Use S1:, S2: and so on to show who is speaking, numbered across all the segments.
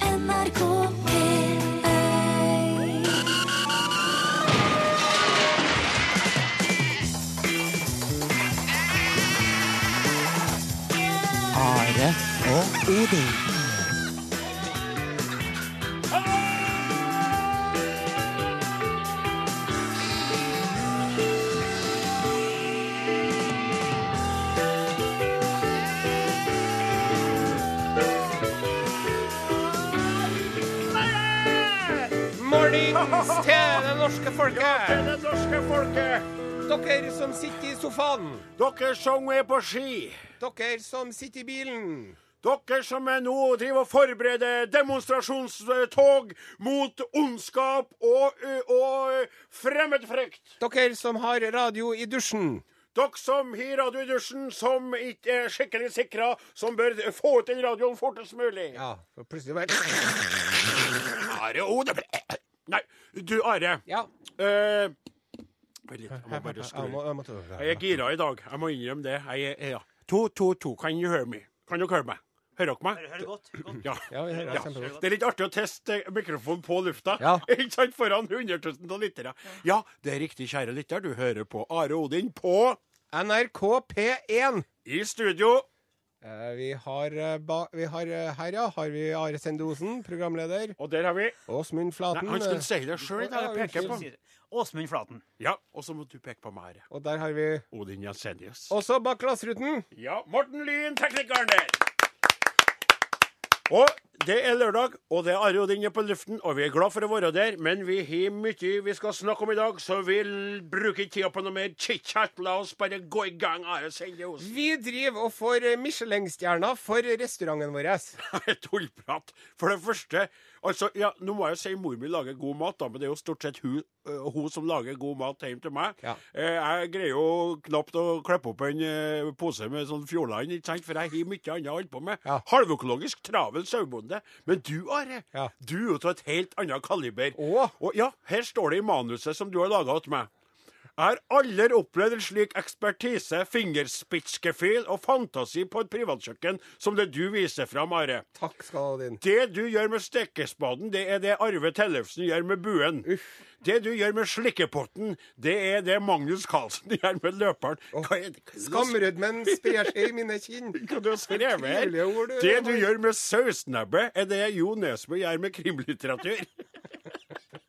S1: NRK P1
S2: Are og Odin.
S3: Mornings til det norske folket.
S4: Det norske folket,
S3: Dere som sitter i sofaen.
S4: dere som er på ski,
S3: Dere som sitter i bilen.
S4: dere som er nå driver og forbereder demonstrasjonstog mot ondskap og, ø, og ø, fremmedfrykt,
S3: Dere som har radio i dusjen.
S4: dere som har radio i dusjen som ikke er skikkelig sikra, som bør få ut den radioen fortest mulig.
S3: Ja, og plutselig bare
S4: Are Ode Nei, du Are.
S3: Ja.
S4: Eh, Vent litt, jeg må bare
S3: Jeg
S4: skru
S3: må, jeg må ta
S4: Jeg er gira i dag. Jeg må innrømme det. Jeg er, ja. To, to, to. Can you hear me? Kan dere høre meg? Hører dere meg? Hører godt. Ja.
S3: Ja, vi hører
S4: Ja.
S3: kjempegodt.
S4: Det er litt artig å teste mikrofonen på lufta.
S3: Ja.
S4: Ikke sant? Foran 100 000 av lyttere. Ja, det er riktig, kjære lytter. Du hører på Are Odin på
S3: NRK P1.
S4: I studio.
S3: Eh, Vi har, eh, ba, vi har eh, her, ja, har vi Are Sende Osen, programleder.
S4: Og der har vi
S3: Åsmund
S4: Nei,
S3: Flaten.
S4: han skulle
S3: eh,
S4: si det sjøl.
S3: Ja,
S4: Jeg peker på
S3: unnskyld.
S5: Åsmund Flaten.
S4: Ja, og så må du peke på meg her.
S3: eh, Og der har vi
S4: Odin Jensenius.
S3: også bak glassruten.
S4: Ja, Morten Lyn, teknikeren der. Og det er lørdag, og det er Are Odin er på luften, og vi er glad for å være der, men vi har mye vi skal snakke om i dag, så vi l- bruker ikke tida på noe mer chit-chat. La oss bare gå i gang, Are Sende Osen.
S3: Vi driver og får eh, Michelin-stjerner for restauranten vår.
S4: Tullprat. For det første, altså, ja, nå må jeg jo si mor mi lager god mat, da, men det er jo stort sett hun, øh, hun som lager god mat hjemme til meg.
S3: Ja.
S4: Eh, jeg greier jo knapt å klippe opp en eh, pose med sånn fjordland, ikke sant, for jeg har mye annet å holde på med.
S3: Ja.
S4: Halvøkologisk travel sauebonde. Men du, Are,
S3: Ja.
S4: du er jo av et helt annet kaliber.
S3: Å?
S4: Og ja, her står det i manuset som du har laga til meg. Jeg har aldri opplevd en slik ekspertise, fingerspitzgefühl og fantasi på et privatkjøkken som det du viser fram, Are.
S3: Takk skal du ha, Odin.
S4: Det du gjør med stekespaden, det er det Arve Tellefsen gjør med buen. Det du gjør med slikkepotten, det er det Magnus Carlsen gjør med løperen. Hva er det?
S3: Skamrødmen sprer seg i mine kinn.
S4: Hva du har skrevet her?
S3: Trivelige ord, du.
S4: Det du gjør med sausnebbet, er det Jo Nesbø gjør med krimlitteratur.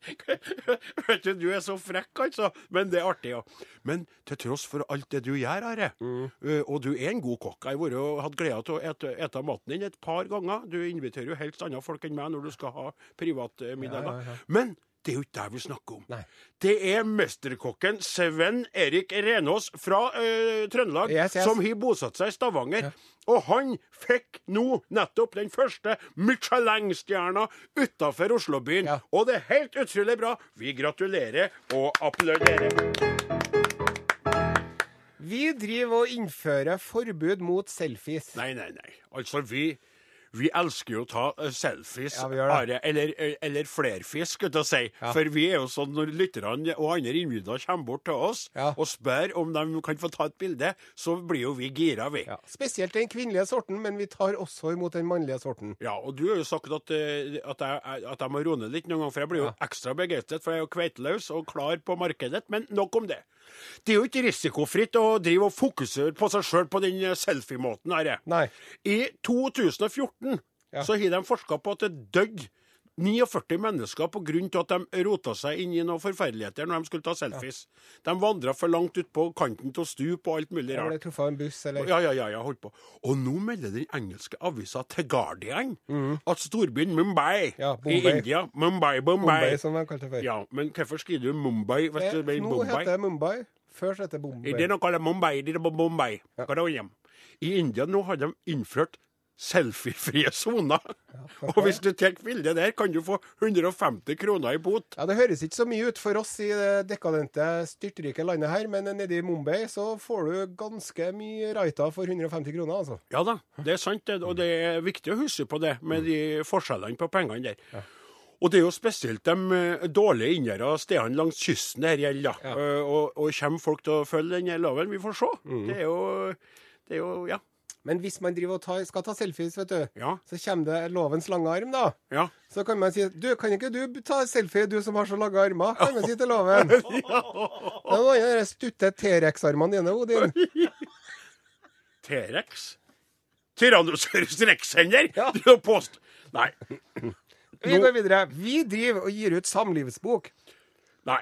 S4: Vet du, du er så frekk, altså. Men det er artig, ja. Men til tross for alt det du gjør, Are,
S3: Mm.
S4: ø, og du er en god kokk Jeg har vært og hatt glede av å ete, ete maten din et par ganger. Du inviterer jo helst andre folk enn meg når du skal ha privatmiddager. Men det er jo ikke det vi snakker om.
S3: Nei.
S4: Det er mesterkokken Sven Erik Renås fra ø, Trøndelag
S3: Yes, yes.
S4: som har bosatt seg i Stavanger. Og han fikk nå nettopp den første Michelin-stjerna utafor Oslobyen.
S3: Ja.
S4: Og det er helt utrolig bra. Vi gratulerer og applauderer.
S3: Vi driver og innfører forbud mot selfies.
S4: Nei, nei, nei. Altså, vi vi elsker jo å ta eh, selfies,
S3: Ja, vi gjør
S4: Are, eller, eh, eller flerfis, skulle jeg si.
S3: Ja.
S4: For vi er jo sånn når lytterne og andre innbyggere kommer bort til oss
S3: Ja.
S4: og spør om de kan få ta et bilde, så blir jo vi gira, vi.
S3: Ja. Spesielt den kvinnelige sorten, men vi tar også imot den mannlige sorten.
S4: Ja, og du har jo sagt at, eh, at, jeg, at jeg må roe ned litt noen ganger, for jeg blir jo ekstra begeistret, for jeg er jo kveiteløs og klar på markedet. Men nok om det. Det er jo ikke risikofritt å drive og fokusere på seg sjøl på den eh, selfie-måten. her.
S3: Nei.
S4: I 2014
S3: Ja.
S4: så har de forska på at det døde 49 mennesker på grunn til at de rota seg inn i noen forferdeligheter når de skulle ta selfies. De vandra for langt ut på kanten av stup og alt mulig
S3: Jeg
S4: rart.
S3: ble truffet av en buss, eller
S4: Ja, ja, ja, ja, holdt på. Og nå melder den engelske avisa The Guardian at storbyen Mumbai
S3: Mm. Ja,
S4: i
S3: Bombay.
S4: India Mumbai, Bombay.
S3: Bombay, som de kalte det før.
S4: Ja, men hvorfor skriver du Mumbai hvis
S3: Eh,
S4: det blir
S3: Nå
S4: Bombay?
S3: heter det Mumbai. Før så het det
S4: Er det
S3: Bombay.
S4: noe av det Mumbai? Det er på Bombay. Hva er det hjem? I India nå har de innført selfiefrie soner. og hvis du tar bilde der, kan du få 150 kroner i bot.
S3: Ja, Det høres ikke så mye ut for oss i det dekadente, styrtrike landet her, men nede i Mumbai så får du ganske mye raita for 150 kroner, altså.
S4: Ja da, det er sant, det, og det er viktig å huske på det, med de forskjellene på pengene der. Og det er jo spesielt de eh, dårlige inngjerdene og stedene langs kysten her gjelder, da. Eh, Og, og kommer folk til å følge denne loven? Vi får se. Det er jo Det er jo Ja.
S3: Men hvis man driver og tar, skal ta selfies, vet du,
S4: Ja.
S3: så kommer det lovens lange arm, da.
S4: Ja.
S3: Så kan man si Du, kan ikke du ta selfie, du som har så lange armer? Kan man si til loven. Det er noe annet enn de stutte T-rex-armene dine, Odin.
S4: T-rex? Tyrannosaurus rex-hender?
S3: Ja.
S4: Du har påst... Nei.
S3: Vi går videre. Vi driver og gir ut samlivsbok.
S4: Nei.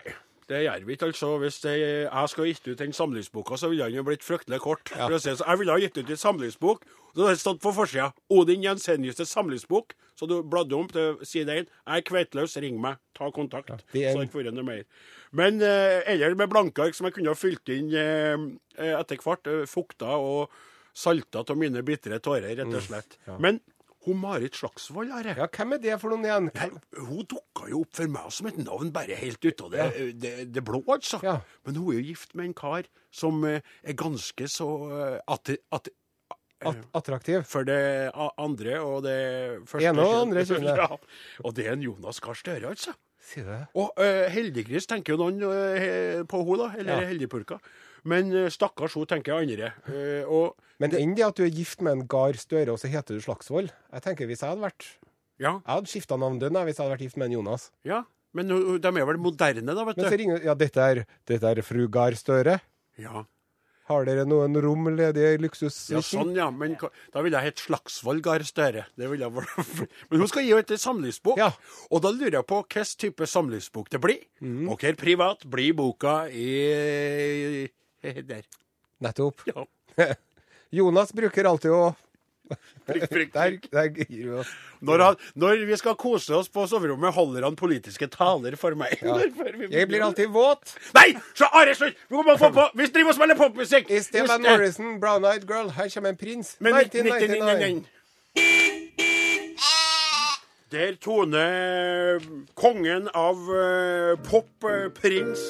S4: Det gjør vi ikke, altså. Hvis det, jeg skulle gitt ut den samlingsboka, så ville den jo blitt fryktelig kort. For å si det sånn. Jeg ville ha gitt ut en samlingsbok. Så hadde det stått på forsida 'Odin Jensenius' til samlingsbok. Så du bladde om til side 1. 'Jeg er kveitløs, ring meg, ta kontakt'.
S3: det er-
S4: Så hadde det vært noe mer. Men eh, eller med blanke ark som jeg kunne ha fylt inn eh, eh, etter hvert. Eh, fukta og salta av mine bitre tårer, rett og slett. Men hun Marit Slagsvold, herre.
S3: Ja, hvem er det for noen igjen? Hvem-
S4: Hun dukka jo opp for meg som et navn bare helt ut av det, det, det blå, altså.
S3: Ja.
S4: Men hun er jo gift med en kar som eh, er ganske så eh, at, at,
S3: At attraktiv.
S4: For det a- andre og det første
S3: Ene og
S4: kjønn.
S3: andre kjønnet.
S4: Ja. Og det er en Jonas Gahr Støre, altså.
S3: Si det.
S4: Og eh, heldiggris tenker jo noen eh, på henne, da. Eller
S3: Ja.
S4: heldigpurka. Men eh, stakkars hun tenker andre. Eh, og
S3: Men enn det at du er gift med en Gahr Støre, og så heter du Slagsvold. Jeg tenker hvis jeg hadde vært
S4: ja,
S3: Jeg hadde skifta navn dønn jeg, hvis jeg hadde vært gift med en Jonas.
S4: ja. Men hun- de er vel moderne, da, vet
S3: Men så
S4: du.
S3: ringer Ja, dette er, dette er fru Gahr Støre.
S4: Ja.
S3: Har dere noen rom ledige i luksussuiten?
S4: Ja, sånn, ja. Men hva- da ville jeg hett Slagsvold Gahr Støre. Det ville jeg vært. Men hun skal gi ut en samlivsbok,
S3: Ja.
S4: og da lurer jeg på hvilken type samlivsbok det blir.
S3: Mhm.
S4: Og hvor privat blir boka i Der.
S3: Nettopp.
S4: Ja.
S3: Jonas bruker alltid å
S4: Prikk, prikk,
S3: Der,
S4: prikk.
S3: der gir vi oss.
S4: Når, han, når vi skal kose oss på soverommet, holder han politiske taler for meg. Derfor vi-
S3: Jeg blir alltid våt.
S4: Nei! Så Are, slutt! Vi må bare få på Vi driver og spiller popmusikk!
S3: I Stefan Morrison, Brown Eyed Girl, her kommer en prins.
S4: Men
S3: 1999.
S4: 1999 Der Tone, kongen av eh, pop, eh, prins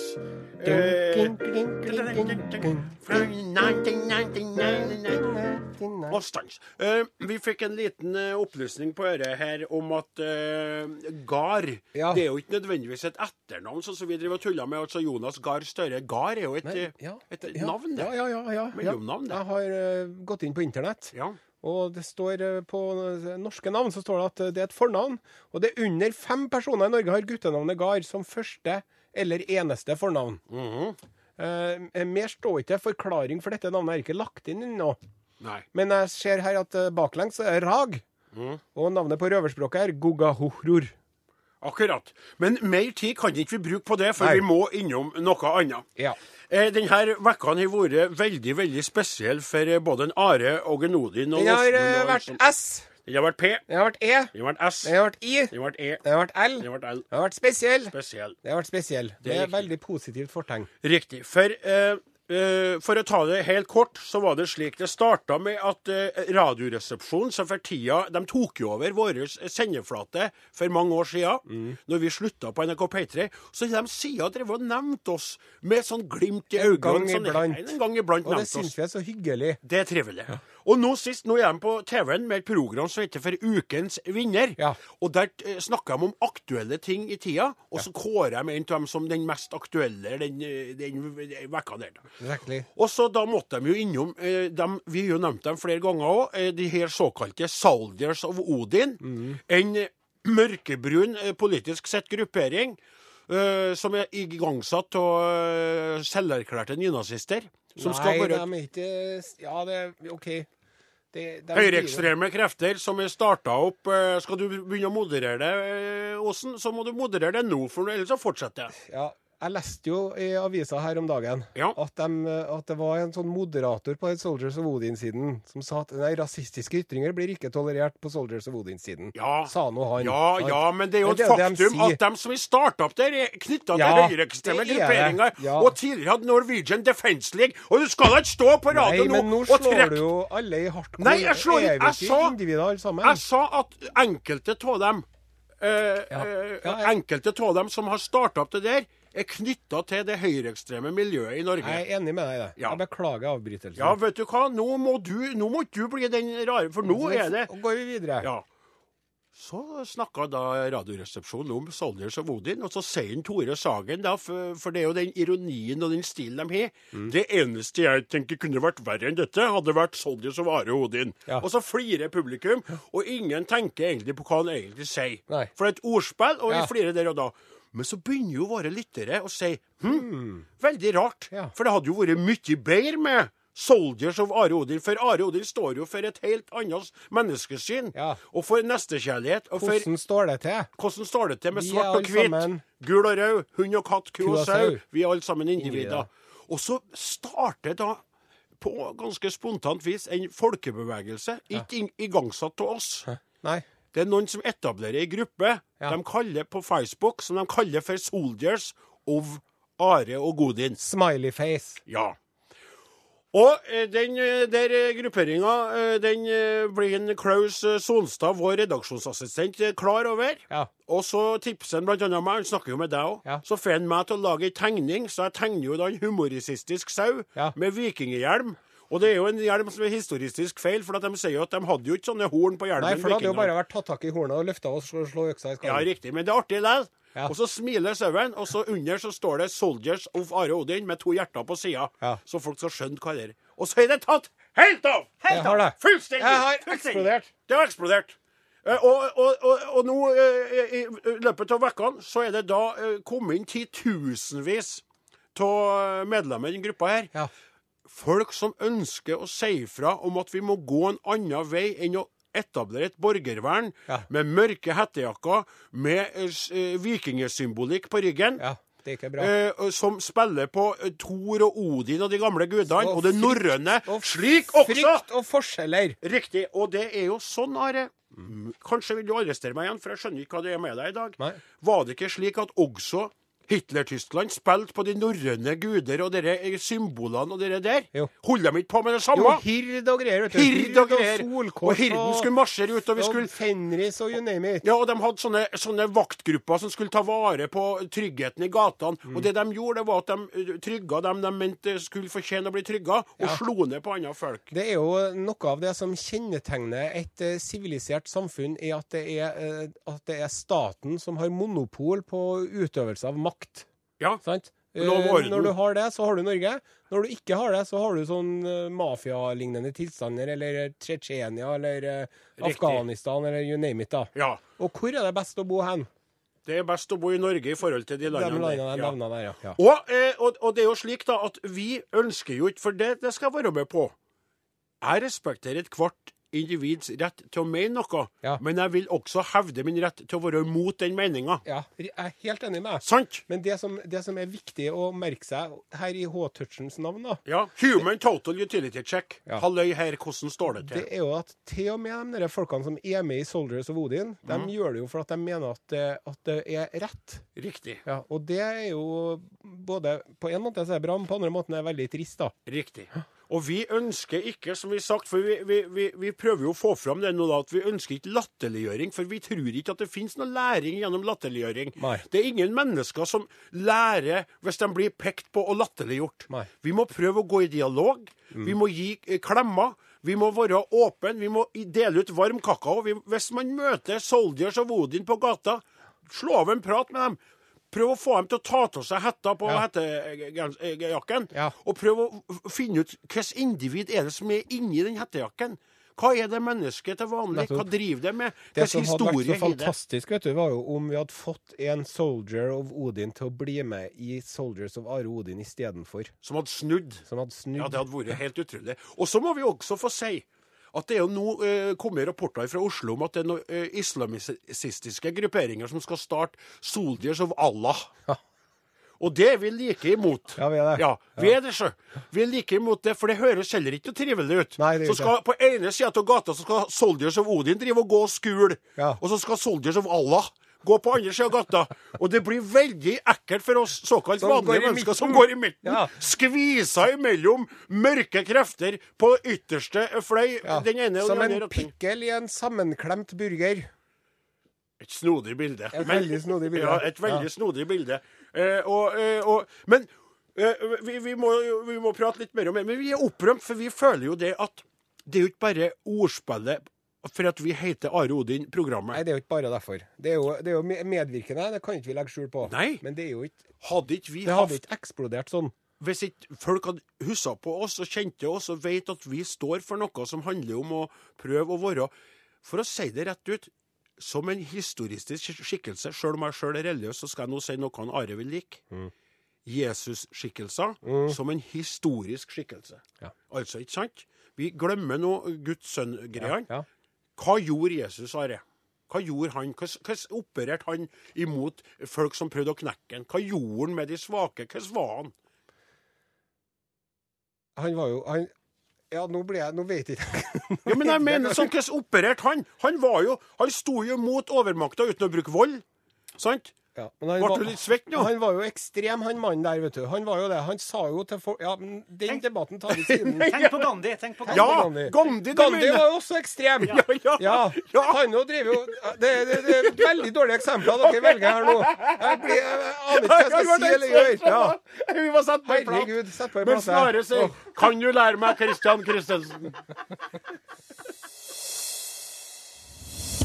S4: eh,
S3: Dun, dun, dun, dun, dun, dun.
S4: Fra 1999 og stans. Eh, vi fikk en liten eh, opplysning på øret her om at uh, Gard
S3: Ja.
S4: Det er jo ikke nødvendigvis et etternavn, sånn som vi driver og tuller med. Altså Jonas Gahr Støre. Gard er jo et, eh,
S3: Ja,
S4: et
S3: ja,
S4: navn, det.
S3: Ja, ja, ja, ja, ja.
S4: Mellomnavn, det.
S3: Jeg har eh, gått inn på internett,
S4: Ja.
S3: og det står eh, på eh, norske navn så står det at eh, det er et fornavn. Og det er under fem personer i Norge har guttenavnet Gard som første eller eneste fornavn.
S4: Mhm.
S3: Eh, mer står ikke. Forklaring for dette navnet er ikke lagt inn ennå.
S4: Nei.
S3: Men jeg ser her at eh, baklengs er rag.
S4: Mm.
S3: Og navnet på røverspråket er gogahohror.
S4: Akkurat. Men mer tid kan ikke vi bruke på det, for
S3: Nei.
S4: vi må innom noe annet.
S3: Ja.
S4: Eh, denne vekka har vært veldig veldig spesiell for eh, både en Are og en Odin. Og
S3: Den har
S4: Åsmund
S3: eh,
S4: og en
S3: vært
S4: som-
S3: S,
S4: Den har vært P,
S3: den har vært E,
S4: den har vært S,
S3: den har vært I,
S4: den har vært E,
S3: den har vært L,
S4: den har vært L.
S3: den har vært spesiell.
S4: Spesiell.
S3: Den har vært spesiell. Det er
S4: riktig.
S3: veldig positivt fortegn.
S4: Riktig. For, eh, eh, for å ta det helt kort, så var det slik det starta med at eh, Radioresepsjonen, som for tida De tok jo over vår eh, sendeflate for mange år sia,
S3: Mm.
S4: når vi slutta på NRK P3. Så de sida drev og nevnte oss med sånn glimt i
S3: En
S4: øynene.
S3: gang
S4: sånn,
S3: iblant.
S4: En gang iblant
S3: Og det
S4: nevnte
S3: syns
S4: oss.
S3: vi er så hyggelig.
S4: Det er trivelig. Og nå sist, nå er de på TV-en med et program som heter For ukens vinner.
S3: Ja.
S4: Og der eh, snakker de om aktuelle ting i tida, og så kårer de en av dem som den mest aktuelle den, eh, den vekka der. da.
S3: Exactly.
S4: Og så da måtte de jo innom eh, dem, Vi har jo nevnt dem flere ganger òg. Eh, de her såkalte Soldiers of Odin.
S3: Mm.
S4: En eh, mørkebrun eh, politisk sett gruppering eh, som er igangsatt av eh, selverklærte nynazister. Som skal
S3: Nei,
S4: bare
S3: de er ikke Ja, det er OK. Det- de-
S4: Høyreekstreme krefter som er starta opp. eh, Skal du begynne å moderere det, eh, Åsen, så må du moderere det nå, for ellers så fortsetter jeg.
S3: Ja, jeg leste jo i avisa her om dagen
S4: Ja.
S3: at, dem, eh, at det var en sånn moderator på Soldiers of Odin-siden som sa at nei, rasistiske ytringer blir ikke tolerert på Soldiers of Odin-siden.
S4: Ja.
S3: Sa nå han.
S4: Ja,
S3: sant?
S4: ja, men det er jo
S3: Men
S4: et
S3: det er jo det de
S4: faktum
S3: sier.
S4: at de som er starta opp der, er knytta til
S3: Ja,
S4: høyreekstreme
S3: det er det.
S4: grupperinger.
S3: Ja.
S4: Og tidligere hadde Norwegian Defence League. Og du skal da ikke stå på
S3: Nei,
S4: radioen
S3: men nå
S4: nå og
S3: slår
S4: trekke
S3: du jo alle i hardcore.
S4: Nei, jeg slår-
S3: Er vi
S4: jeg sa-
S3: individer alle sammen.
S4: Jeg sa at enkelte av dem eh, eh,
S3: Ja, jeg-
S4: Enkelte av dem som har starta opp det der, er knytta til det høyreekstreme miljøet i Norge.
S3: Jeg er enig med deg i det.
S4: Ja.
S3: Jeg beklager avbrytelsen.
S4: Ja, vet du hva, nå må du, nå må du bli den rare, for nå er det
S3: Og går vi videre.
S4: Ja. Så snakka da Radioresepsjonen om Soldiers of Odin, og så sier han Tore Sagen, da, for, for det er jo den ironien og den stilen de har.
S3: Mm.
S4: Det eneste jeg tenker kunne vært verre enn dette, hadde vært Soldiers of Are Odin.
S3: Ja.
S4: Og så flirer publikum, og ingen tenker egentlig på hva han egentlig sier.
S3: Nei.
S4: For det er et ordspill, og vi
S3: Ja.
S4: flirer der og da. Men så begynner jo våre lyttere å si hm, veldig rart,
S3: Mm. Ja.
S4: for det hadde jo vært mye bedre med Soldiers of Are Odin, for Are Odin står jo for et helt annet menneskesyn.
S3: Ja.
S4: Og for nestekjærlighet. Og for
S3: Hvordan står det til?
S4: hvordan står det til med
S3: Vi er
S4: svart og
S3: alle
S4: hvit,
S3: sammen-
S4: gul og rød, hund og katt, ku og sau?
S3: sau.
S4: Vi er alle sammen individer.
S3: Individer.
S4: Og så starter da, på ganske spontant vis, en folkebevegelse, ikke ing- igangsatt av oss.
S3: Nei.
S4: Det er noen som etablerer ei gruppe
S3: Ja.
S4: de kaller på Facebook, som de kaller for Soldiers of Are og Godin.
S3: Smileyface.
S4: Ja. Og eh, den eh, der grupperinga, den eh, blir en Klaus eh, Solstad, vår redaksjonsassistent, eh, klar over.
S3: Ja.
S4: Og så tipser han blant annet meg, han snakker jo med deg òg.
S3: Ja.
S4: Så får han meg til å lage ei tegning, så jeg tegner jo da en humoristisk sau
S3: Ja.
S4: med vikinghjelm. Og det er jo en hjelm som er historistisk feil, for at de sier jo at de hadde jo ikke sånne horn på hjelmen.
S3: Nei, for det hadde jo
S4: vikingene.
S3: bare vært tatt tak i hornet og løfta og slå, slå øksa i
S4: Ja,
S3: skallen.
S4: riktig. Men det er artig likevel.
S3: Ja.
S4: Og så smiler sauen, og så under så står det 'Soldiers of Are Odin' med to hjerter på sida,
S3: Ja.
S4: så folk skal skjønne hva det er. Og så er det tatt helt av!
S3: Jeg har det.
S4: Fullstendig!
S3: Jeg har
S4: Fullstendig.
S3: eksplodert.
S4: Det har eksplodert. Eh, Og, og, og, og nå, eh, i i løpet av vekkene, så er det da eh, kommet inn titusenvis av medlemmer i den gruppa her.
S3: Ja.
S4: Folk som ønsker å si fra om at vi må gå en annen vei enn å etablere et borgervern
S3: Ja.
S4: med mørke hettejakker, med eh, s- eh, vikingesymbolikk på ryggen.
S3: ja. Det er ikke bra.
S4: Eh, og som spiller på eh, Thor og Odin og de gamle gudene og,
S3: Og
S4: det
S3: frykt
S4: norrøne.
S3: Og
S4: Eh, Slik også!
S3: Frykt og forskjeller.
S4: Riktig. Og det er jo sånn, Are. Kanskje vil du arrestere meg igjen, for jeg skjønner ikke hva det er med deg i dag.
S3: Nei.
S4: Var det ikke slik at også Hitler-Tyskland spilte på de norrøne guder og dere eh, symbolene og dere der?
S3: Jo.
S4: Holdt de ikke på med det
S3: Jo,
S4: samme?
S3: hird og greier. vet du.
S4: Hird og greier.
S3: solkors
S4: Og hirden skulle marsjere ut, og vi
S3: og
S4: skulle
S3: Fenris og you name it.
S4: ja, og de hadde sånne, sånne vaktgrupper som skulle ta vare på tryggheten i gatene. Og det de gjorde, det var at de eh, trygga dem de mente skulle fortjene å bli trygga, og slo ned på andre folk.
S3: Det er jo noe av det som kjennetegner et eh, sivilisert samfunn, er at det er, eh, at det er staten som har monopol på utøvelse av makt.
S4: Ja.
S3: Sant? Eh,
S4: Lov og orden.
S3: Når du har det, så har du Norge. Når du ikke har det, så har du sånn eh, mafialignende tilstander, eller Tsjetsjenia, eller eh,
S4: Riktig.
S3: Afghanistan, eller you name it, da.
S4: ja.
S3: Og hvor er det best å bo hen?
S4: Det er best å bo i Norge i forhold til de
S3: De
S4: landene.
S3: landene jeg
S4: der. Ja.
S3: nevna der, ja. ja.
S4: Og, eh, og, og det er jo slik da at vi ønsker jo ikke, for det, det skal jeg være med på. Jeg respekterer et hvert individs rett til å mene noe,
S3: Ja.
S4: men jeg vil også hevde min rett til å være imot den meninga.
S3: ja. Jeg er helt enig med deg.
S4: Sant?
S3: Men det som, det som er viktig å merke seg her i H-touchens navn, da,
S4: Ja. Human total utility check.
S3: Ja.
S4: Halløy her, hvordan står det
S3: det
S4: til?
S3: er jo at til og med de der folkene som er med i Soldiers of Odin, de
S4: Mhm.
S3: gjør det jo for at de mener at det, at det er rett.
S4: Riktig.
S3: Ja, og det er jo både På en måte så er det bra, men på andre måten er det veldig trist, da.
S4: Riktig. Og vi ønsker ikke, som vi har sagt, for vi, vi, vi, vi prøver jo å få fram det nå, da, at vi ønsker ikke latterliggjøring, for vi tror ikke at det finnes noe læring gjennom latterliggjøring.
S3: Nei.
S4: Det er ingen mennesker som lærer hvis de blir pekt på og latterliggjort.
S3: Nei. Mm.
S4: Vi må prøve å gå i dialog. Vi må gi eh, klemmer. Vi må være åpne. Vi må i- dele ut varm kakao. Vi, hvis man møter Soldiers og Odin på gata, slå av en prat med dem. Prøv å få dem til å ta av seg hetta på eh,
S3: Ja.
S4: hettejakken.
S3: Ja.
S4: Og prøv å f- finne ut hvilket individ er det som er inni den hettejakken. Hva er det mennesket til vanlig? Hva
S3: Nettopp.
S4: driver det med?
S3: Det
S4: Hvilken
S3: som hadde vært
S4: historie
S3: så
S4: har det?
S3: fantastisk, vet du, var jo om vi hadde fått en Soldier of Odin til å bli med i Soldiers of Are Odin istedenfor.
S4: Som hadde snudd.
S3: Som hadde snudd.
S4: Ja, det hadde vært helt utrolig. Og så må vi også få si at det er jo nå eh, kommet rapporter fra Oslo om at det er noen eh, islamistiske grupperinger som skal starte Soldiers of Allah.
S3: Ja.
S4: Og det er vi like imot.
S3: Ja, vi er det.
S4: Ja, vi er det, sjø. Vi er like imot det, for det høres heller ikke noe trivelig ut.
S3: Nei, det gjør
S4: så skal, på ene sida av gata så skal Soldiers of Odin drive og gå og skule,
S3: Ja.
S4: og så skal Soldiers of Allah gå på andre sida av gata. Og det blir veldig ekkelt for oss såkalt
S3: Som går i
S4: vanlige mennesker som
S3: midten.
S4: går i midten.
S3: Ja.
S4: Skvisa imellom mørke krefter på ytterste fløy.
S3: Ja.
S4: Den ene og
S3: Som
S4: den andre
S3: en
S4: retning.
S3: pikkel i en sammenklemt burger.
S4: Et snodig bilde.
S3: Et veldig snodig bilde.
S4: Ja, et veldig
S3: Ja.
S4: snodig bilde. Eh, og, eh, og, men eh, vi, vi, må, jo- vi må prate litt mer om det. Men vi er opprømt, for vi føler jo det at det er jo ikke bare ordspillet for at vi heter Are Odin,
S3: Nei,
S4: programmet.
S3: det er jo ikke bare derfor. Det er jo, det er jo me- medvirkende, det kan ikke vi legge skjul på.
S4: Nei.
S3: Men det er jo ikke
S4: Hadde ikke vi
S3: Det hadde
S4: hatt
S3: ikke eksplodert sånn.
S4: Hvis ikke folk hadde huska på oss og kjente oss og vet at vi står for noe som handler om å prøve å være For å si det rett ut, som en historistisk skik- skikkelse, sjøl om jeg sjøl er religiøs, så skal jeg nå si noe han Are vil like.
S3: Mm.
S4: Jesus-skikkelser som en historisk skikkelse.
S3: Ja.
S4: Altså, ikke sant? Vi glemmer nå Guds sønn-greiene.
S3: Ja.
S4: Hva gjorde Jesus, Are? Hva gjorde han? Hvordan hvordan opererte han imot folk som prøvde å knekke han? Hva gjorde han med de svake? Hvordan var han?
S3: Han var jo han, Ja, nå blir jeg Nå vet jeg ikke
S4: Ja, men jeg mener sånn hvordan opererte han? Han var jo, han sto jo mot overmakta uten å bruke vold. Sant?
S3: Ja, men han
S4: Ble
S3: var-
S4: du litt svett nå?
S3: Han var jo ekstrem, han mannen der, vet du. Han var jo det. Han sa jo til folk Ja, men den debatten tar vi siden.
S1: Tenk på Gandhi. tenk på Gandhi.
S4: Ja,
S3: Gandhi.
S4: Gandhi, du
S3: Gandhi
S4: mener.
S3: var jo også ekstrem. Ja,
S4: ja, ja.
S3: Han jo driver jo det, det, det er veldig dårlige eksempler dere velger her nå. Jeg, blir, jeg, aner ikke hva jeg skal si eller gjøre. Ja.
S4: Vi må sette på en plat.
S3: Herregud, sett på en
S4: Men
S3: plate.
S4: Snare sier
S3: Åh.
S4: 'Kan du lære meg Christian Christensen?'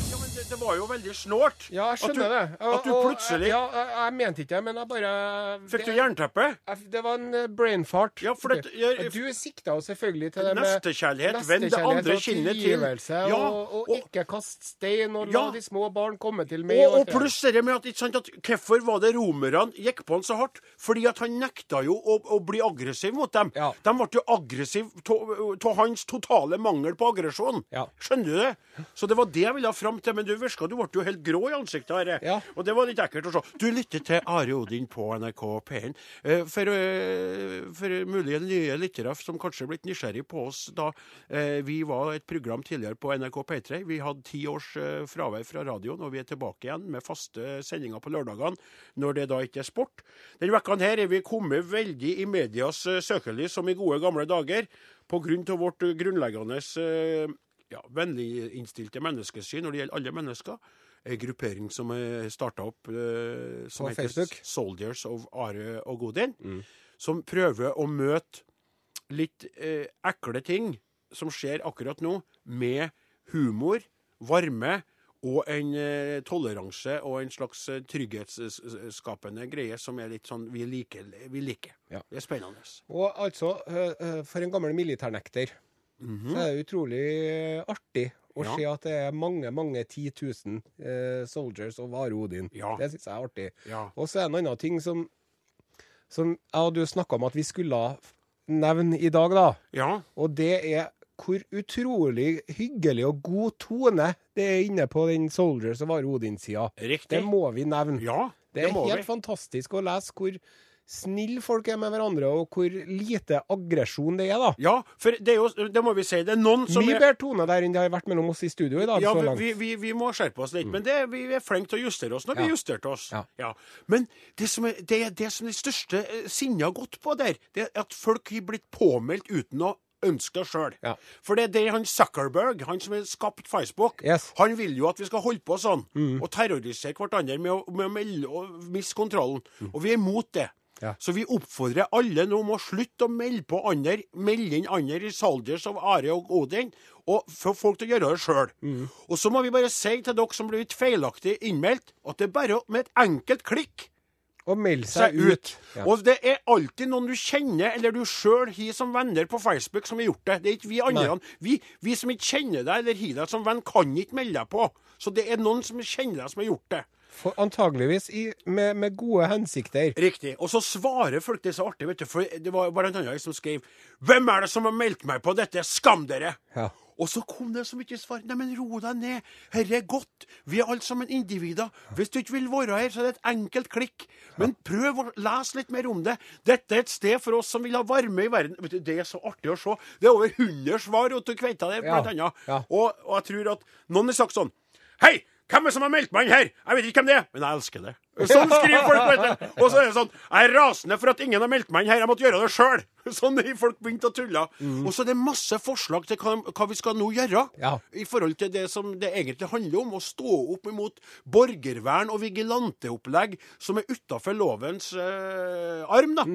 S4: Ja, men det, det var jo veldig snålt.
S3: Ja, jeg skjønner
S4: at du,
S3: det. Og-
S4: At du
S3: og-
S4: plutselig
S3: Ja, jeg, jeg mente ikke det, men jeg bare
S4: Fikk du
S3: det-
S4: jernteppe?
S3: jeg- Det var en eh, brain fart.
S4: Ja, for det- jeg-
S3: Og Du sikta jo selvfølgelig til det med
S4: Nestekjærlighet. Vend det
S3: nestekjærlighet
S4: andre
S3: og
S4: kinnet til.
S3: tilgivelse,
S4: Ja,
S3: og, og,
S4: og-
S3: ikke kaste stein, og la
S4: Ja.
S3: de små barn komme til meg.
S4: Og, og
S3: alt det der.
S4: pluss det med at, ikke sant, at hvorfor var det romerne gikk på han så hardt? Fordi at han nekta jo å, å bli aggressiv mot dem.
S3: Ja.
S4: De ble jo aggressive av hans totale mangel på aggresjon.
S3: Ja.
S4: Skjønner du det? Så det var det jeg ville ha fram til. Men du virka du ble jo helt grå i ansiktet. Are.
S3: Ja.
S4: Og det var litt ekkelt å se. Du lytter til Are Odin på NRK P1. Eh, For, eh, for mulige nye lyttere som kanskje er blitt nysgjerrig på oss da eh, vi var et program tidligere på NRK P3. Vi hadde ti års eh, fravær fra radioen, og vi er tilbake igjen med faste sendinger på lørdagene når det da ikke er sport. Denne vekka her er vi kommet veldig i medias eh, søkelys som i gode gamle dager pga. vårt eh, grunnleggende eh, ja, vennliginnstilte menneskesyn når det gjelder alle mennesker. Ei gruppering som er starta opp eh, som
S3: På
S4: heter
S3: Facebook. Mm.
S4: Soldiers of Are og Godin. Som prøver å møte litt eh, ekle ting som skjer akkurat nå, med humor, varme og en eh, toleranse og en slags eh, trygghetsskapende greie som er litt sånn vi liker. Vi liker.
S3: Ja.
S4: Det er spennende.
S3: Og altså, ø, ø, for en gammel militærnekter, så er det utrolig eh, artig å
S4: Ja.
S3: se at det er mange, mange 10 000 eh, soldiers of Are Odin.
S4: Ja.
S3: Det syns jeg er artig.
S4: Ja.
S3: Og så er det en annen ting som, som jeg og du snakka om at vi skulle nevne i dag, da.
S4: ja.
S3: Og det er hvor utrolig hyggelig og god tone det er inne på den Soldiers of Are Odin-sida. Det
S4: Riktig.
S3: må vi nevne.
S4: ja,
S3: Det er
S4: må
S3: helt
S4: vi.
S3: fantastisk å lese hvor snille folk er med hverandre, og hvor lite aggresjon det er, da.
S4: Ja, for det er jo Det må vi si. Det er noen som
S3: Mye
S4: er
S3: bedre tone der enn det har vært mellom oss i studio i dag.
S4: Ja,
S3: så
S4: vi,
S3: langt. Mm.
S4: vi, vi, vi må skjerpe oss litt, men det, vi er flinke til å justere oss når
S3: Ja.
S4: vi justerte oss.
S3: Ja.
S4: Men det som er det, er det som de største eh, sinnet har gått på der, det er at folk har blitt påmeldt uten å ønske det sjøl.
S3: Ja.
S4: For det er det han Zuckerberg, han som har skapt Facebook,
S3: Yes. Mm.
S4: han vil jo at vi skal holde på sånn, og terrorisere hverandre med å, med å melde og miste kontrollen. Og vi er imot det.
S3: Mm. Ja.
S4: Så vi oppfordrer alle nå om å slutte å melde på andre, melde inn andre i Soldiers of Are og Odin, og få folk til å gjøre det sjøl.
S3: Mm.
S4: Og så må vi bare si til dere som blir litt feilaktig innmeldt, at det er bare å- med et enkelt klikk
S3: Og meld
S4: seg ut.
S3: Ja.
S4: Og det er alltid noen du kjenner, eller du sjøl har som venner på Facebook, som har gjort det. Det er ikke vi andre. Vi, vi som ikke kjenner deg, eller har deg som venn, kan ikke melde deg på. Så det er noen som kjenner deg, som har gjort det.
S3: For antageligvis i, med, med gode hensikter.
S4: Riktig. Og så svarer folk det er så artig, vet du. For det var blant annet en som skrev Hvem er det som har meldt meg på dette? Skam dere!
S3: Ja.
S4: Og så kom det så mye svar. Nei, men ro deg ned. Herre er godt. Vi er alle sammen individer. Hvis du ikke vil være her, så er det et enkelt klikk. Men prøv å lese litt mer om det. Dette er et sted for oss som vil ha varme i verden. Vet du, Det er så artig å se. Det er over 100 svar ute i kveita der,
S3: Ja.
S4: blant annet.
S3: Ja.
S4: Og, og jeg tror at noen har sagt sånn Hei! Hvem er det som har meldt meg inn her? Jeg vet ikke hvem det er, men jeg elsker det. Sånn skriver folk. vet du. Og så er det sånn Jeg er rasende for at ingen har meldt meg inn her. Jeg måtte gjøre det sjøl. Sånn har folk begynt å tulle. Og så er det masse forslag til hva, hva vi skal nå gjøre.
S3: Ja.
S4: I forhold til det som det egentlig handler om, å stå opp imot
S3: Mm.
S4: borgervern og vigilanteopplegg som er utafor lovens eh, arm. da.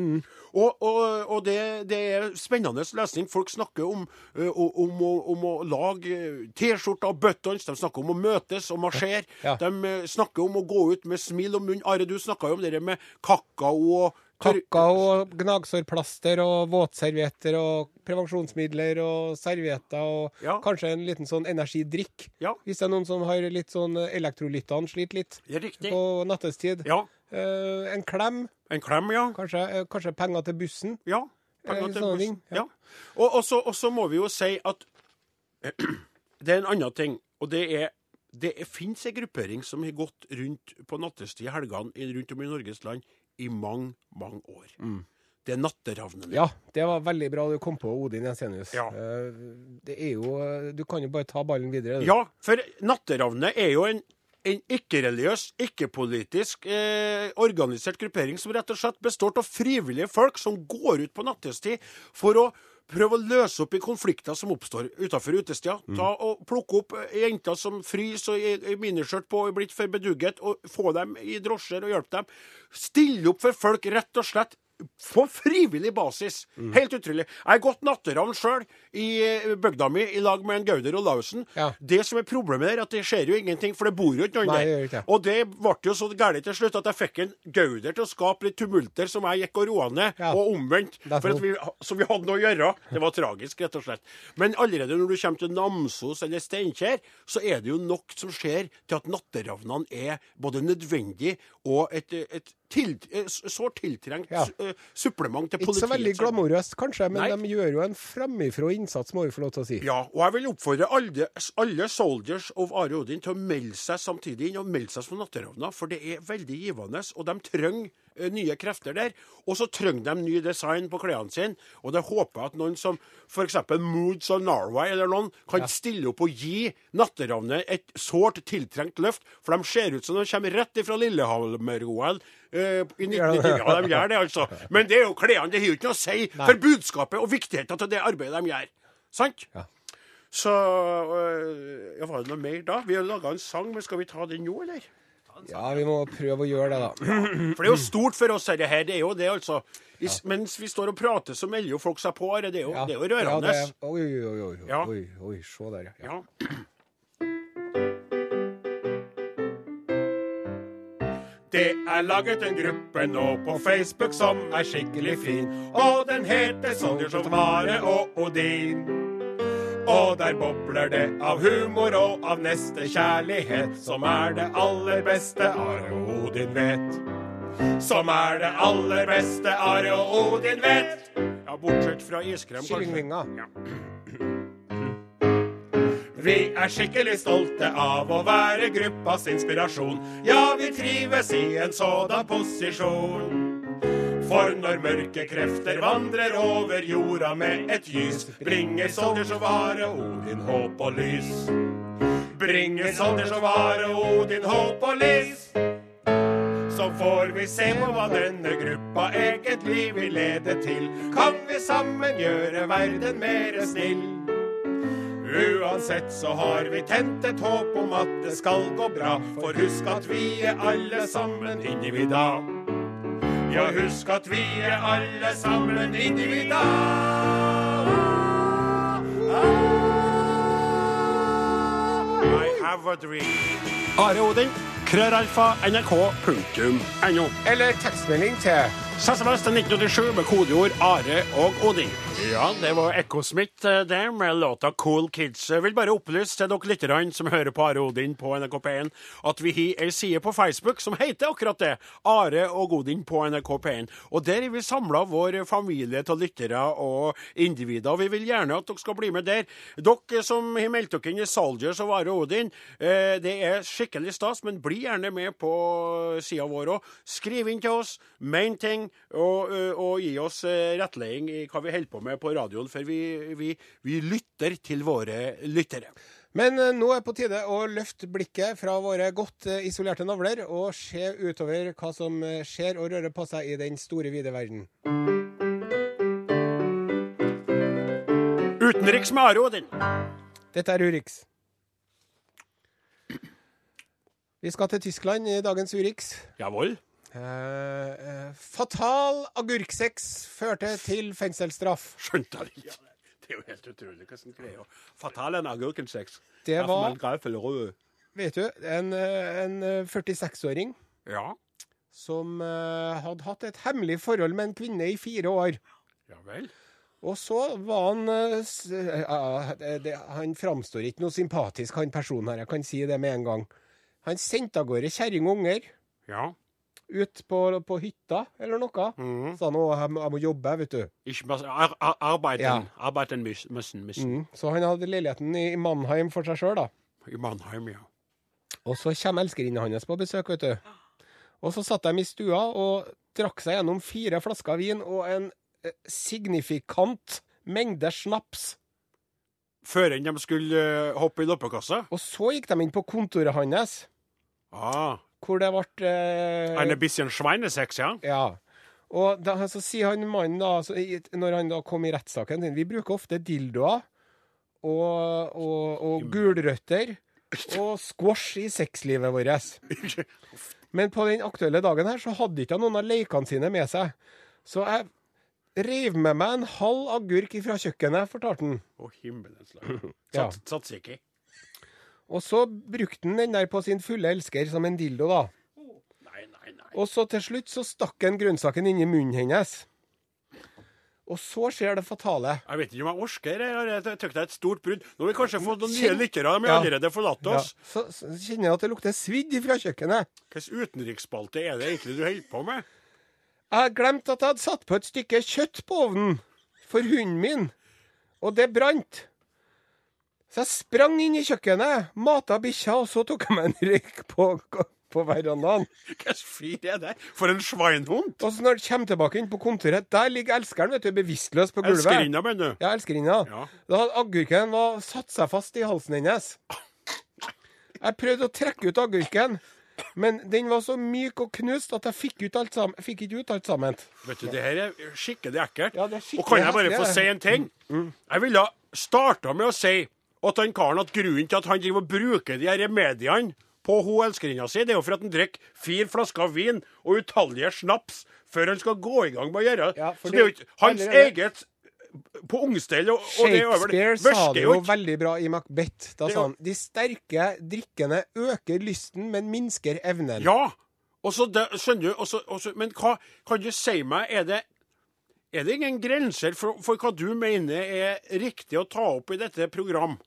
S4: Og, og, og det, det er spennende lesning. Folk snakker om, eh, om, om, å- om å lage eh, T-skjorter, buttons, de snakker om å møtes og marsjere.
S3: Ja.
S4: De eh, snakker om å gå ut med smil om munnen. Are, du snakka jo om det der med kakao og
S3: Kakao og gnagsårplaster og våtservietter og prevensjonsmidler og servietter og
S4: Ja.
S3: kanskje en liten sånn energidrikk.
S4: Ja.
S3: Hvis det er noen som har litt sånn elektrolyttene sliter litt
S4: Ja, riktig.
S3: på nattestid.
S4: Ja.
S3: Eh, en klem,
S4: En klem, ja.
S3: kanskje, eh, kanskje penger til bussen.
S4: Ja.
S3: Eh,
S4: Penger til
S3: sånne
S4: bussen.
S3: ting, ja.
S4: Ja. Og, og, så, og så må vi jo si at det er en annen ting, og det er det er- finnes en gruppering som har gått rundt på nattestid i helgene i- rundt om i Norges land i mange, mange år.
S3: Mm.
S4: Det er natteravnene.
S3: Ja, det var veldig bra du kom på, Odin Jensenius.
S4: Ja.
S3: Eh, det er jo eh, Du kan jo bare ta ballen videre. du.
S4: Ja, for Natteravnene er jo en, en ikke-religiøs, ikke-politisk eh, organisert gruppering som rett og slett består av frivillige folk som går ut på nattestid for å prøve å løse opp i konflikter som oppstår utenfor utesteder. Ta og Plukke opp eh, jenter som fryser og i- i miniskjørt på og er blitt for bedugget, og få dem i drosjer og hjelpe dem. Stille opp for folk, rett og slett. På frivillig basis. Helt utrolig. Jeg har gått natteravn sjøl i eh, bygda mi i lag med en Gauder og Lausen.
S3: Ja.
S4: Det som er problemet der, er at det skjer jo ingenting, for det bor jo ikke noen
S3: Nei, det gjør
S4: der.
S3: ikke det.
S4: Og det ble jo så gærent til slutt at jeg fikk en Gauder til å skape litt tumulter som jeg gikk og roa ned,
S3: Ja. sånn.
S4: og omvendt.
S3: Derfor.
S4: For at vi, så vi hadde noe å gjøre. Det var tragisk, rett og slett. Men allerede når du kommer til Namsos eller Steinkjer, så er det jo nok som skjer til at natteravnene er både nødvendig og et, et til, eh, sårt tiltrengt
S3: Ja.
S4: eh, supplement til
S3: Ikke
S4: politiet.
S3: så veldig glamorøst, kanskje, men
S4: Nei.
S3: de gjør jo en framifrå innsats, må vi få lov til å si.
S4: Ja, og jeg vil oppfordre alle, alle soldiers of Are Odin til å melde seg samtidig inn, og melde seg som natteravner, for det er veldig givende, og de trenger eh, nye krefter der. Og så trenger de ny design på klærne sine, og det håper jeg at noen som f.eks. Moods of Norway eller noen, kan stille opp og gi natteravnet et sårt tiltrengt løft, for de ser ut som de kommer rett ifra Lillehammer-OL. eh, i 1994. ja, de gjør det, altså. Men det er jo klærne, det har jo ikke noe å si for budskapet og viktigheten til det arbeidet de gjør. Sant? Så øh, ja, Var det noe mer da? Vi har laga en sang, men skal vi ta den nå, eller?
S3: Ja, vi må prøve å gjøre det, da.
S4: For det er jo stort for oss, dette her. Det er jo det, altså. I, s- Mens vi står og prater, så melder jo folk seg på. Are. Det er jo, det er jo rørende.
S3: Ja, det er- oi, oi, oi, oi,
S4: Ja.
S3: oi, oi, se der, ja.
S4: Ja. Det er laget en gruppe nå på Facebook som er skikkelig fin. Og den heter Soldiers of Mare og Odin. Og der bobler det av humor og av nestekjærlighet, som er det aller beste Are og Odin vet. Som er det aller beste Are og Odin vet. Ja, bortsett fra iskrem, kanskje.
S3: Kyllingvinger.
S4: Vi er skikkelig stolte av å være gruppas inspirasjon. Ja, vi trives i en sådan posisjon. For når mørke krefter vandrer over jorda med et gys, bringer soldier som vare Odin håp og lys. Bringer soldier som vare Odin håp og lys. Så får vi se på hva denne gruppa egentlig vil lede til. Kan vi sammen gjøre verden mere snill? Uansett så har vi tent et håp om at det skal gå bra. For husk at vi er alle sammen individa. Ja, husk at vi er alle sammen individa. I have a dream. Are Odin, krøralfa, nrk.no.
S3: Eller tekstmelding til
S4: SMS til 1987 med kodeord Are og Odin. Ja, det var Ekko Smith eh, det, med låta Cool Kids. Jeg vil bare opplyse til dere lytterne som hører på Are Odin på NRK P1, at vi har ei side på Facebook som heter akkurat det, Are og Odin på NRK P1. Og der har vi samla vår familie av lyttere og individer, og vi vil gjerne at dere skal bli med der. Dere som har meldt dere inn i Soldiers og Are Odin, eh, det er skikkelig stas, men bli gjerne med på sida vår òg. Skriv inn til oss, mein ting, og, ø, og gi oss eh, rettledning i hva vi holder på med på radioen, for vi, vi, vi lytter til våre lyttere.
S3: Men eh, nå er på tide å løfte blikket fra våre godt eh, isolerte navler og se utover hva som eh, skjer og rører på seg i den store, vide verden.
S4: Utenriks med Are Odin.
S3: Dette er Urix. Vi skal til Tyskland i dagens Urix.
S4: Jawohl.
S3: Eh, eh, fatal agurksex førte til fengselsstraff.
S4: Skjønte jeg det ikke. Det er jo helt utrolig hvordan greier Fatal en agurkensex.
S3: Det
S4: Derfor
S3: var-
S4: man greier rød.
S3: Vet du, en, eh, en eh, 46-åring
S4: Ja.
S3: som eh, hadde hatt et hemmelig forhold med en kvinne i fire år.
S4: Ja vel.
S3: Og så var han eh, s- eh, ah, det, det- Han framstår ikke noe sympatisk, han personen her. Jeg kan si det med en gang. Han sendte av gårde kjerring og unger
S4: Ja.
S3: ut på, på hytta eller noe.
S4: Mhm.
S3: Sa han å, jeg, må- jeg må jobbe, vet du.
S4: Ikke masse ar ar arbeiden.
S3: Ja.
S4: Arbeiden müssen, müssen, müssen.
S3: Mm. Så han hadde leiligheten i Mannheim for seg sjøl, da.
S4: I Mannheim, ja.
S3: Og så kommer elskerinnen hans på besøk, vet du. Og så satt de i stua og drakk seg gjennom fire flasker vin og en eh, signifikant mengde snaps.
S4: Før enn de skulle eh, hoppe i loppekassa.
S3: Og så gikk de inn på kontoret hans,
S4: Ah.
S3: hvor det ble eh,
S4: Ein bisschen Schweinesex, ja.
S3: Ja. Og da, så sier han mannen, da, så, i- når han da kom i rettssaken sin Vi bruker ofte dildoer og, og, og gulrøtter og squash i sexlivet vårt. Men på den aktuelle dagen her så hadde ikke han noen av leikene sine med seg. Så jeg reiv med meg en halv agurk fra kjøkkenet, fortalte han.
S4: Å, himmelens land.
S3: Ja.
S4: Sats, Satser ikke.
S3: Og så brukte han den der på sin fulle elsker som en dildo, da.
S4: Nei, nei, nei.
S3: Og så til slutt så stakk han grønnsaken inn i munnen hennes. Og så skjer det fatale.
S4: Jeg vet ikke om jeg orker det. her. Jeg tykker det er et stort brudd. Nå har vi kanskje fått noen nye
S3: Kjenn-
S4: lyttere. De har
S3: Ja.
S4: allerede forlatt
S3: Ja.
S4: oss.
S3: Så, så kjenner jeg at det lukter svidd fra kjøkkenet.
S4: Hvilken utenriksspalte er det egentlig du holder på med?
S3: Jeg har glemt at jeg hadde satt på et stykke kjøtt på ovnen for hunden min, og det brant. Så jeg sprang inn i kjøkkenet, mata bikkja, og så tok jeg meg en røyk på, på verandaen.
S4: Hvilken fyr er det? For en sveinhund!
S3: Og så når jeg kommer tilbake inn på kontoret, der ligger elskeren, vet du, bevisstløs på gulvet.
S4: Elskerinna, mener du?
S3: Ja, elskerinna.
S4: Ja.
S3: Da hadde agurken var- satt seg fast i halsen hennes. Jeg prøvde å trekke ut agurken, men den var så myk og knust at jeg fikk, ut alt sammen, fikk ikke ut alt sammen.
S4: Vet du, det her er skikkelig ekkelt.
S3: Ja, det er skikkelig
S4: og kan jeg bare
S3: ekkelt,
S4: få
S3: det. Mm.
S4: si en ting? Jeg ville starta med å si at han karen at grunnen til at han driver og bruker de her remediene på hun elskerinna si, det er jo for at han drikker fire flasker vin og utallige snaps før han skal gå i gang med å gjøre
S3: Ja, for
S4: Så det er jo
S3: det-
S4: ikke hans
S3: allerede-
S4: eget på ungstell og, og det er over det
S3: Shakespeare sa
S4: virker
S3: det
S4: jo
S3: jo
S4: ikke.
S3: veldig bra i Macbeth. Da
S4: Det er
S3: sa
S4: jo-
S3: han de sterke drikkene øker lysten, men minsker evnen.
S4: Ja! Og så det, skjønner du og så, og så, Men hva, kan du si meg, er det, er det ingen grenser for, for hva du mener er riktig å ta opp i dette program?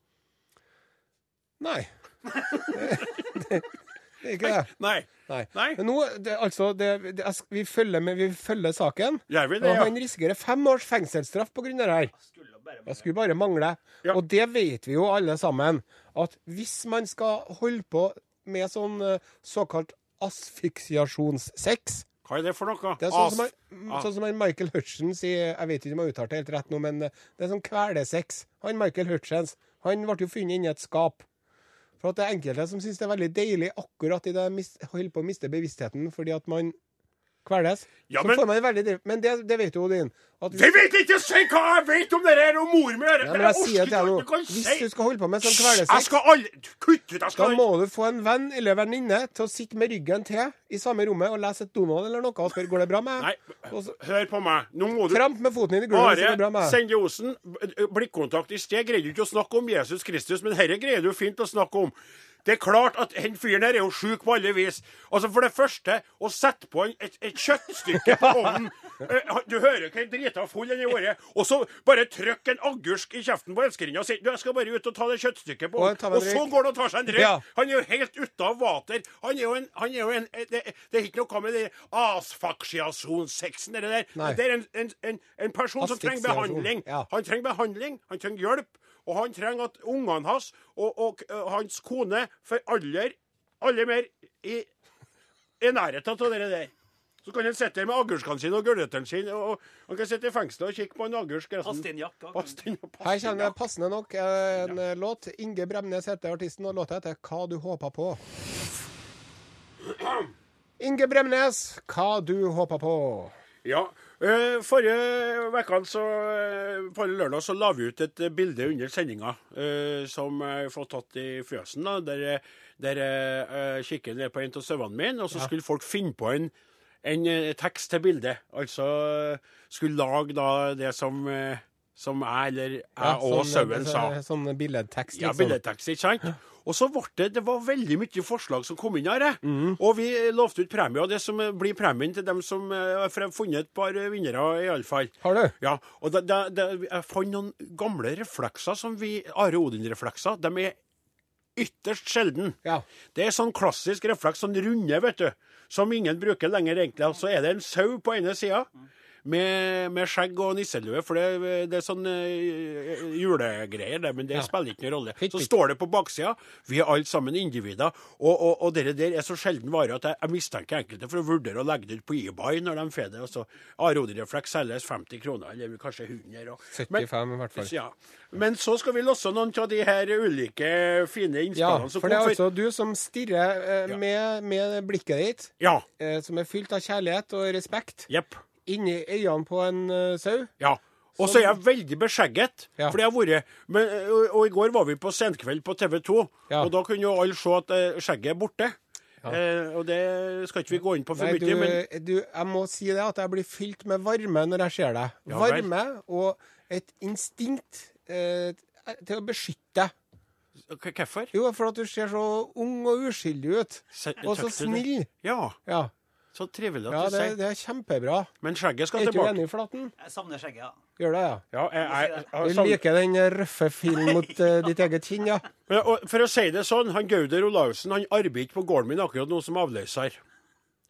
S3: Nei. Det, det, det er ikke det.
S4: Nei.
S3: Nei.
S4: Nei.
S3: Men nå, det, altså, det, det, jeg sk- vi, følger med, vi følger saken.
S4: Gjør vi det,
S3: og
S4: ja?
S3: han risikerer fem års fengselsstraff pga. det her. Jeg skulle bare mangle.
S4: Ja.
S3: Og det vet vi jo alle sammen, at hvis man skal holde på med sånn eh, såkalt asfiksiasjonssex
S4: Hva er det for noe?
S3: det er sånn som,
S4: As- Ah.
S3: han, sånn som han Michael Hutchins sier Jeg vet ikke om jeg uttalte det helt rett nå, men eh, det er sånn kveldesex. Han Michael Hutchins han ble jo funnet inni et skap. For at det er enkelte som syns det er veldig deilig akkurat idet de mis- holder på å miste bevisstheten fordi at man kveles.
S4: Ja,
S3: så
S4: men-
S3: får man veldig driv- Men det, det vet jo Odin. At
S4: Jeg vet ikke å si hva jeg vet om det her og mor mi!
S3: ja, men jeg sier til deg nå, hvis du skal holde på med sånn
S4: Jeg
S3: kveldesex,
S4: skal aldri Kutt ut! Jeg
S3: da
S4: skal
S3: må du få en venn eller venninne til å sitte med ryggen til i samme rommet og lese et Donald eller noe og spørre går det bra med
S4: Nei,
S3: meg. Og så
S4: hør på meg. Nå må du
S3: Tramp med foten inn i gulvet. hvis det går bra med
S4: Are
S3: meg.
S4: Sende Osen, b- blikkontakt i sted, greide du ikke å snakke om Jesus Kristus, men herre greier du fint å snakke om. Det er klart at den fyren her er jo sjuk på alle vis. Altså For det første, å sette på en, et, et kjøttstykke på ovnen Eh, Du hører hvor drita full den har vært. Og så bare trykk en agurk i kjeften på elskerinna og si du, 'Jeg skal bare ut og ta det kjøttstykket på
S3: Og jeg tar
S4: ovnen'.
S3: meg
S4: Og
S3: en
S4: så
S3: drink.
S4: går han og tar seg en drikk.
S3: Ja.
S4: Han er jo helt ute av vater. Han er jo en, han er jo en eh, det, det er ikke noe med det asfaksiasjonssexen, det der.
S3: Nei.
S4: Det er en, en, en, en person han som trenger
S3: Asphyksiasjon,
S4: behandling.
S3: ja.
S4: Han trenger behandling, han trenger hjelp, og han trenger at ungene hans og, og eh, hans kone for aller, aller mer i, i nærheten av det der. Så kan han sitte der med agurkene sine og gulrøttene sine, og, og han kan sitte i fengselet og kikke på en agurk. Pastinjakka.
S3: Her kommer passende nok en eh, låt. Inge Bremnes heter artisten, og låta heter 'Hva du håpa på'. Inge Bremnes, 'Hva du håpa på'.
S4: Ja. eh, Forrige uke, så eh, forrige lørdag, så la vi ut et eh, bilde under sendinga eh, som jeg får tatt i fjøsen, da, der, eh, der jeg eh, kikker ned på en av sauene mine, og så skulle folk finne på en enn eh, tekst til bilde. Altså eh, skulle lage da det som, eh, som jeg eller jeg og sauen sa.
S3: Sånn billedtekst,
S4: Ja, billedtekst, ikke sant? Og så ble det, det var veldig mye forslag som kom inn her. eh.
S3: Mhm.
S4: Og vi lovte ut premie. Og det som eh, blir premien til dem som eh, har frem- funnet et par eh, vinnere, iallfall.
S3: Har du?
S4: Ja, og da- da- da- jeg fant noen gamle reflekser som vi Are Odin-reflekser. De er ytterst sjelden.
S3: Ja.
S4: Det er sånn klassisk refleks, sånn runde, vet du, som ingen bruker lenger egentlig. Så er det en sau på ene sida. Med, med skjegg og nisselue, for det, det er sånn eh, julegreier, det, men det spiller ikke noen rolle.
S3: Fint,
S4: Så
S3: fint.
S4: står det på baksida. Vi er alle sammen individer. Og, og, og det der er så sjelden vare at jeg, jeg mistenker enkelte for å vurdere å legge det ut på eBay når de får det. og så Arodreflex selges 50 kroner, eller kanskje 100. Og,
S3: 75 i hvert fall.
S4: Ja. men så skal vi losse noen av de her ulike fine
S3: Ja,
S4: innspillene som
S3: for det er
S4: kom før-
S3: altså du som stirrer eh,
S4: Ja.
S3: med, med blikket ditt,
S4: Ja.
S3: eh, som er fylt av kjærlighet og respekt,
S4: Jepp.
S3: inni øynene på en eh, sau.
S4: Ja. Og så er jeg veldig beskjegget.
S3: Ja.
S4: Fordi jeg har vært men, og, og i går var vi på Senkveld på TV 2,
S3: Ja.
S4: og da kunne jo alle se at eh, skjegget er borte. Eh, og det skal ikke vi gå inn på for
S3: Nei, du,
S4: mye, men
S3: du, jeg må si det at jeg blir fylt med varme når jeg ser deg.
S4: Ja vel.
S3: varme og et instinkt eh, til å beskytte deg.
S4: K- hvorfor?
S3: Jo, for at du ser så ung og uskyldig ut.
S4: Se-
S3: Og så
S4: tøkte du det?
S3: snill.
S4: Ja.
S3: Ja,
S4: Så trivelig at
S3: ja
S4: du
S3: det,
S4: sier
S3: det er kjempebra.
S4: Men skjegget skal
S3: Er ikke du
S4: tilbake.
S3: enig, Flaten?
S1: Jeg savner skjegget, ja.
S3: Gjør det, ja.
S4: Ja, jeg, jeg, jeg,
S3: Du
S4: sam-
S3: liker den røffe filen mot eh, ditt eget kinn, ja.
S4: Men, og For å si det sånn, han Gauder Olaussen han arbeider ikke på gården min akkurat nå som avløser.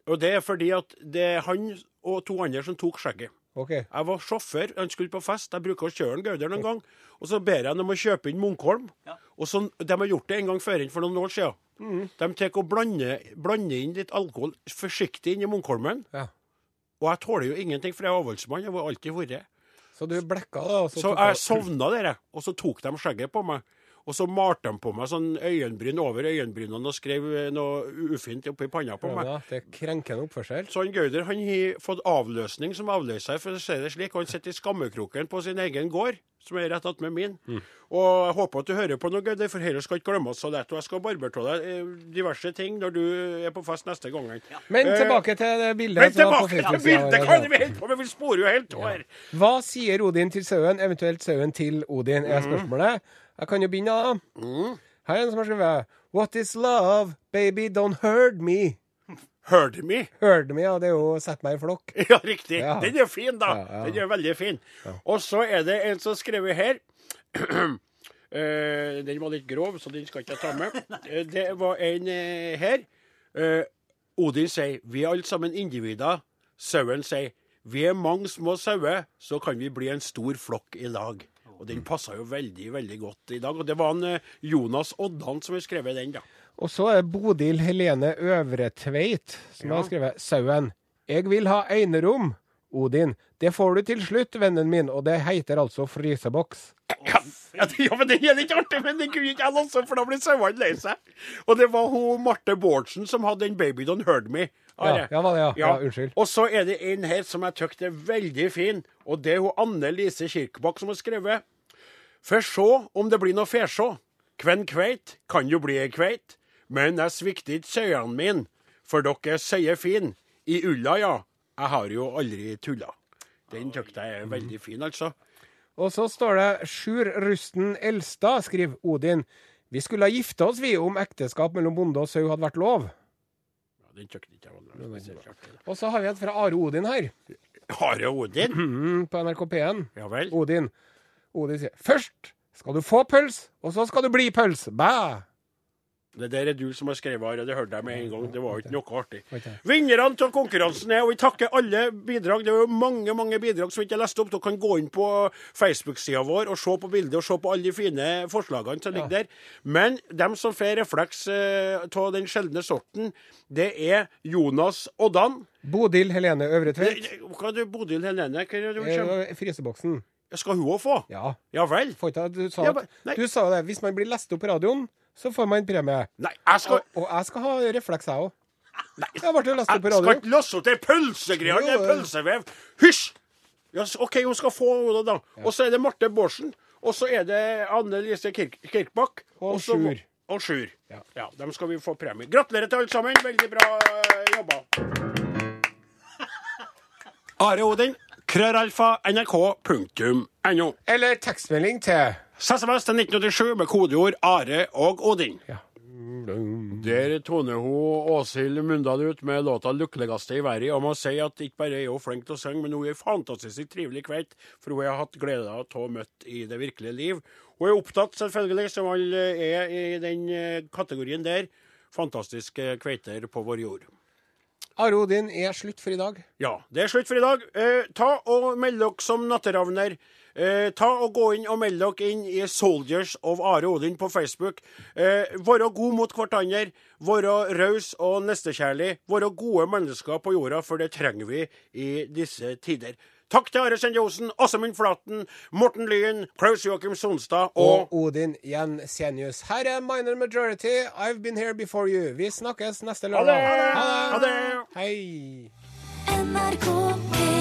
S4: Og det er fordi at det er han og to andre som tok skjegget.
S3: OK.
S4: Jeg var sjåfør, han skulle på fest. Jeg bruker å kjøre en Gauder noen gang. Og så ber jeg dem å kjøpe inn Munkholm.
S1: Ja.
S4: Og så, De har gjort det en gang før inn for noen år siden.
S3: Mm.
S4: De tar og blander, blander inn litt alkohol forsiktig inn i Munkholmen.
S3: Ja.
S4: Og jeg tåler jo ingenting, for jeg er avholdsmann. Jeg var alltid vært.
S3: Så du blekka, da? Og så
S4: Så
S3: tok
S4: jeg
S3: du-
S4: sovna dere, og så tok de skjegget på meg. Og så malte de på meg sånn øyenbryn over øyenbrynene og skrev eh, noe ufint oppi panna på meg.
S3: Ja, det er krenkende oppførsel.
S4: Så han Sånn, Gauder han har fått avløsning som avløser, for å si det slik. og Han sitter i skammekroken på sin egen gård, som er rett attmed min. Og jeg håper at du hører på noe, Gauder, for dette skal ikke glemmes så lett. Og jeg skal barbere av deg eh, diverse ting når du er på fest neste gang.
S3: Men
S4: Eh,
S3: tilbake til det bildet.
S4: Men
S3: som var på
S4: tilbake til
S3: Facebook-sida vår,
S4: bildet! Hva
S3: ja.
S4: er det vi holder på med? Vi sporer jo helt av her.
S3: Hva sier Odin til sauen, eventuelt sauen til Odin, er spørsmålet. Jeg kan jo begynne, da. Her er en som har skrevet What is love? Baby, don't hurt me.
S4: Heard me?
S3: Hurt me, ja, det er jo sett meg i flokk.
S4: Ja, riktig.
S3: Ja.
S4: Den er fin, da.
S3: Ja, ja.
S4: Den er veldig fin. Og så er det en som har skrevet her. Eh, den var litt grov, så den skal ikke jeg ta med. Eh, det var en eh, her. Eh, Odin sier 'Vi er alle sammen individer'. Sauen sier 'Vi er mange små sauer, så kan vi bli en stor flokk i lag'. Og
S3: Mm.
S4: Den passa jo veldig veldig godt i dag. Og Det var en eh, Jonas Oddan som har skrevet den. da.
S3: Og så er Bodil Helene Øvretveit som har skrevet Sauen. Jeg vil ha enerom. Odin. Det får du til slutt, vennen min, og det heter altså fryseboks.
S4: Ja, ja, det- ja, men Den er litt artig, men den kunne ikke jeg låse, for da blir sauene lei seg. Og det var hun Marte Bårdsen som hadde den 'Baby Don't Hurt Me'. Are.
S3: Ja, ja, var det, ja. Ja, unnskyld.
S4: Og så er det en her som jeg tykker er veldig fin, og det er hun Anne Lise Kirkebakk som har skrevet. For sjå om det blir noe fesjå. Kven kveit kan jo bli ei kveit, men jeg svikter ikke sauene mine, for dere sier fin. I ulla, ja. Jeg har jo aldri tulla. Den tykker jeg er veldig fin, altså.
S3: Og så står det Sjur Rusten Elstad, skriver Odin. Vi skulle ha gifta oss, vi, om ekteskap mellom bonde og sau hadde vært lov.
S4: Ja, Den tykker ikke jeg var noe spesielt artig. da.
S3: Og så har vi et fra Are Odin her,
S4: Are Odin?
S3: mm, på NRK P1.
S4: Ja vel.
S3: Odin. Odin sier først skal du få pøls, og så skal du bli pøls. Bæ!
S4: Det der er du som har skrevet, Are. Det hørte jeg med en gang. Det var jo ikke noe artig.
S3: Var ikke det?
S4: Vinnerne av konkurransen er, og vi takker alle bidrag. Det er jo mange mange bidrag som vi ikke har lest opp. Dere kan gå inn på Facebook-sida vår og se på bildet og se på alle de fine forslagene som ligger der. Men dem som får refleks eh, av den sjeldne sorten, det er Jonas Oddan.
S3: Bodil Helene Øvretveit.
S4: Hva er det, Bodil Helene? Hva er det hun kommer?
S3: Eh, Fryseboksen.
S4: Skal hun òg få?
S3: Ja.
S4: Ja vel?
S3: Får ikke jeg- du, sa
S4: Ja,
S3: at,
S4: men- nei.
S3: du sa jo det. Hvis man blir lest opp på radioen, så får man premie.
S4: Nei, jeg skal
S3: Og, og jeg skal ha refleks, jeg òg. Jeg ble jo lest opp på
S4: Jeg skal
S3: radioen.
S4: ikke lasse til pølsegreier, det er
S3: Jo, ja.
S4: pølsevev. Hysj! Ja, s- OK, hun skal få henne, da. Og så er det Marte Bårdsen. Og så er det Anne Lise Kirk Kirkbakk.
S3: Og
S4: så-
S3: Sjur.
S4: Og Sjur.
S3: Ja.
S4: Ja, dem skal vi få premie. Gratulerer til alle sammen. Veldig bra eh, jobba. Are Odin, krøralfa, nrk.no.
S3: Eller tekstmelding til
S4: SMS til 1987 med kodeord Are og Odin.
S3: ja.
S4: Der toner hun Åshild Mundal ut med låta 'Lykkeligste i verden'. Og må si at ikke bare er hun flink til å synge, men hun er ei fantastisk trivelig kveite, for hun har hatt glede av å ha møtt i det virkelige liv. Hun er opptatt, selvfølgelig, som alle er i den eh, kategorien der. Fantastiske kveiter på vår jord.
S3: Are Odin er slutt for i dag.
S4: Ja, det er slutt for i dag. Eh, ta og meld dere som natteravner. Eh, ta og Gå inn og meld dere inn i Soldiers of Are Odin på Facebook. Eh, være god mot hverandre, være raus og nestekjærlig. Være gode mennesker på jorda, for det trenger vi i disse tider. Takk til Are Sende Osen, Åsemund Flaten, Morten Lyen, Klaus Joakim Sonstad og
S3: Og Odin Jensenius. Her er Minor Majority, I've Been Here Before You. Vi snakkes neste
S4: Ha det!
S3: lørdag.
S4: Ha det!
S3: Hei!
S1: NRK P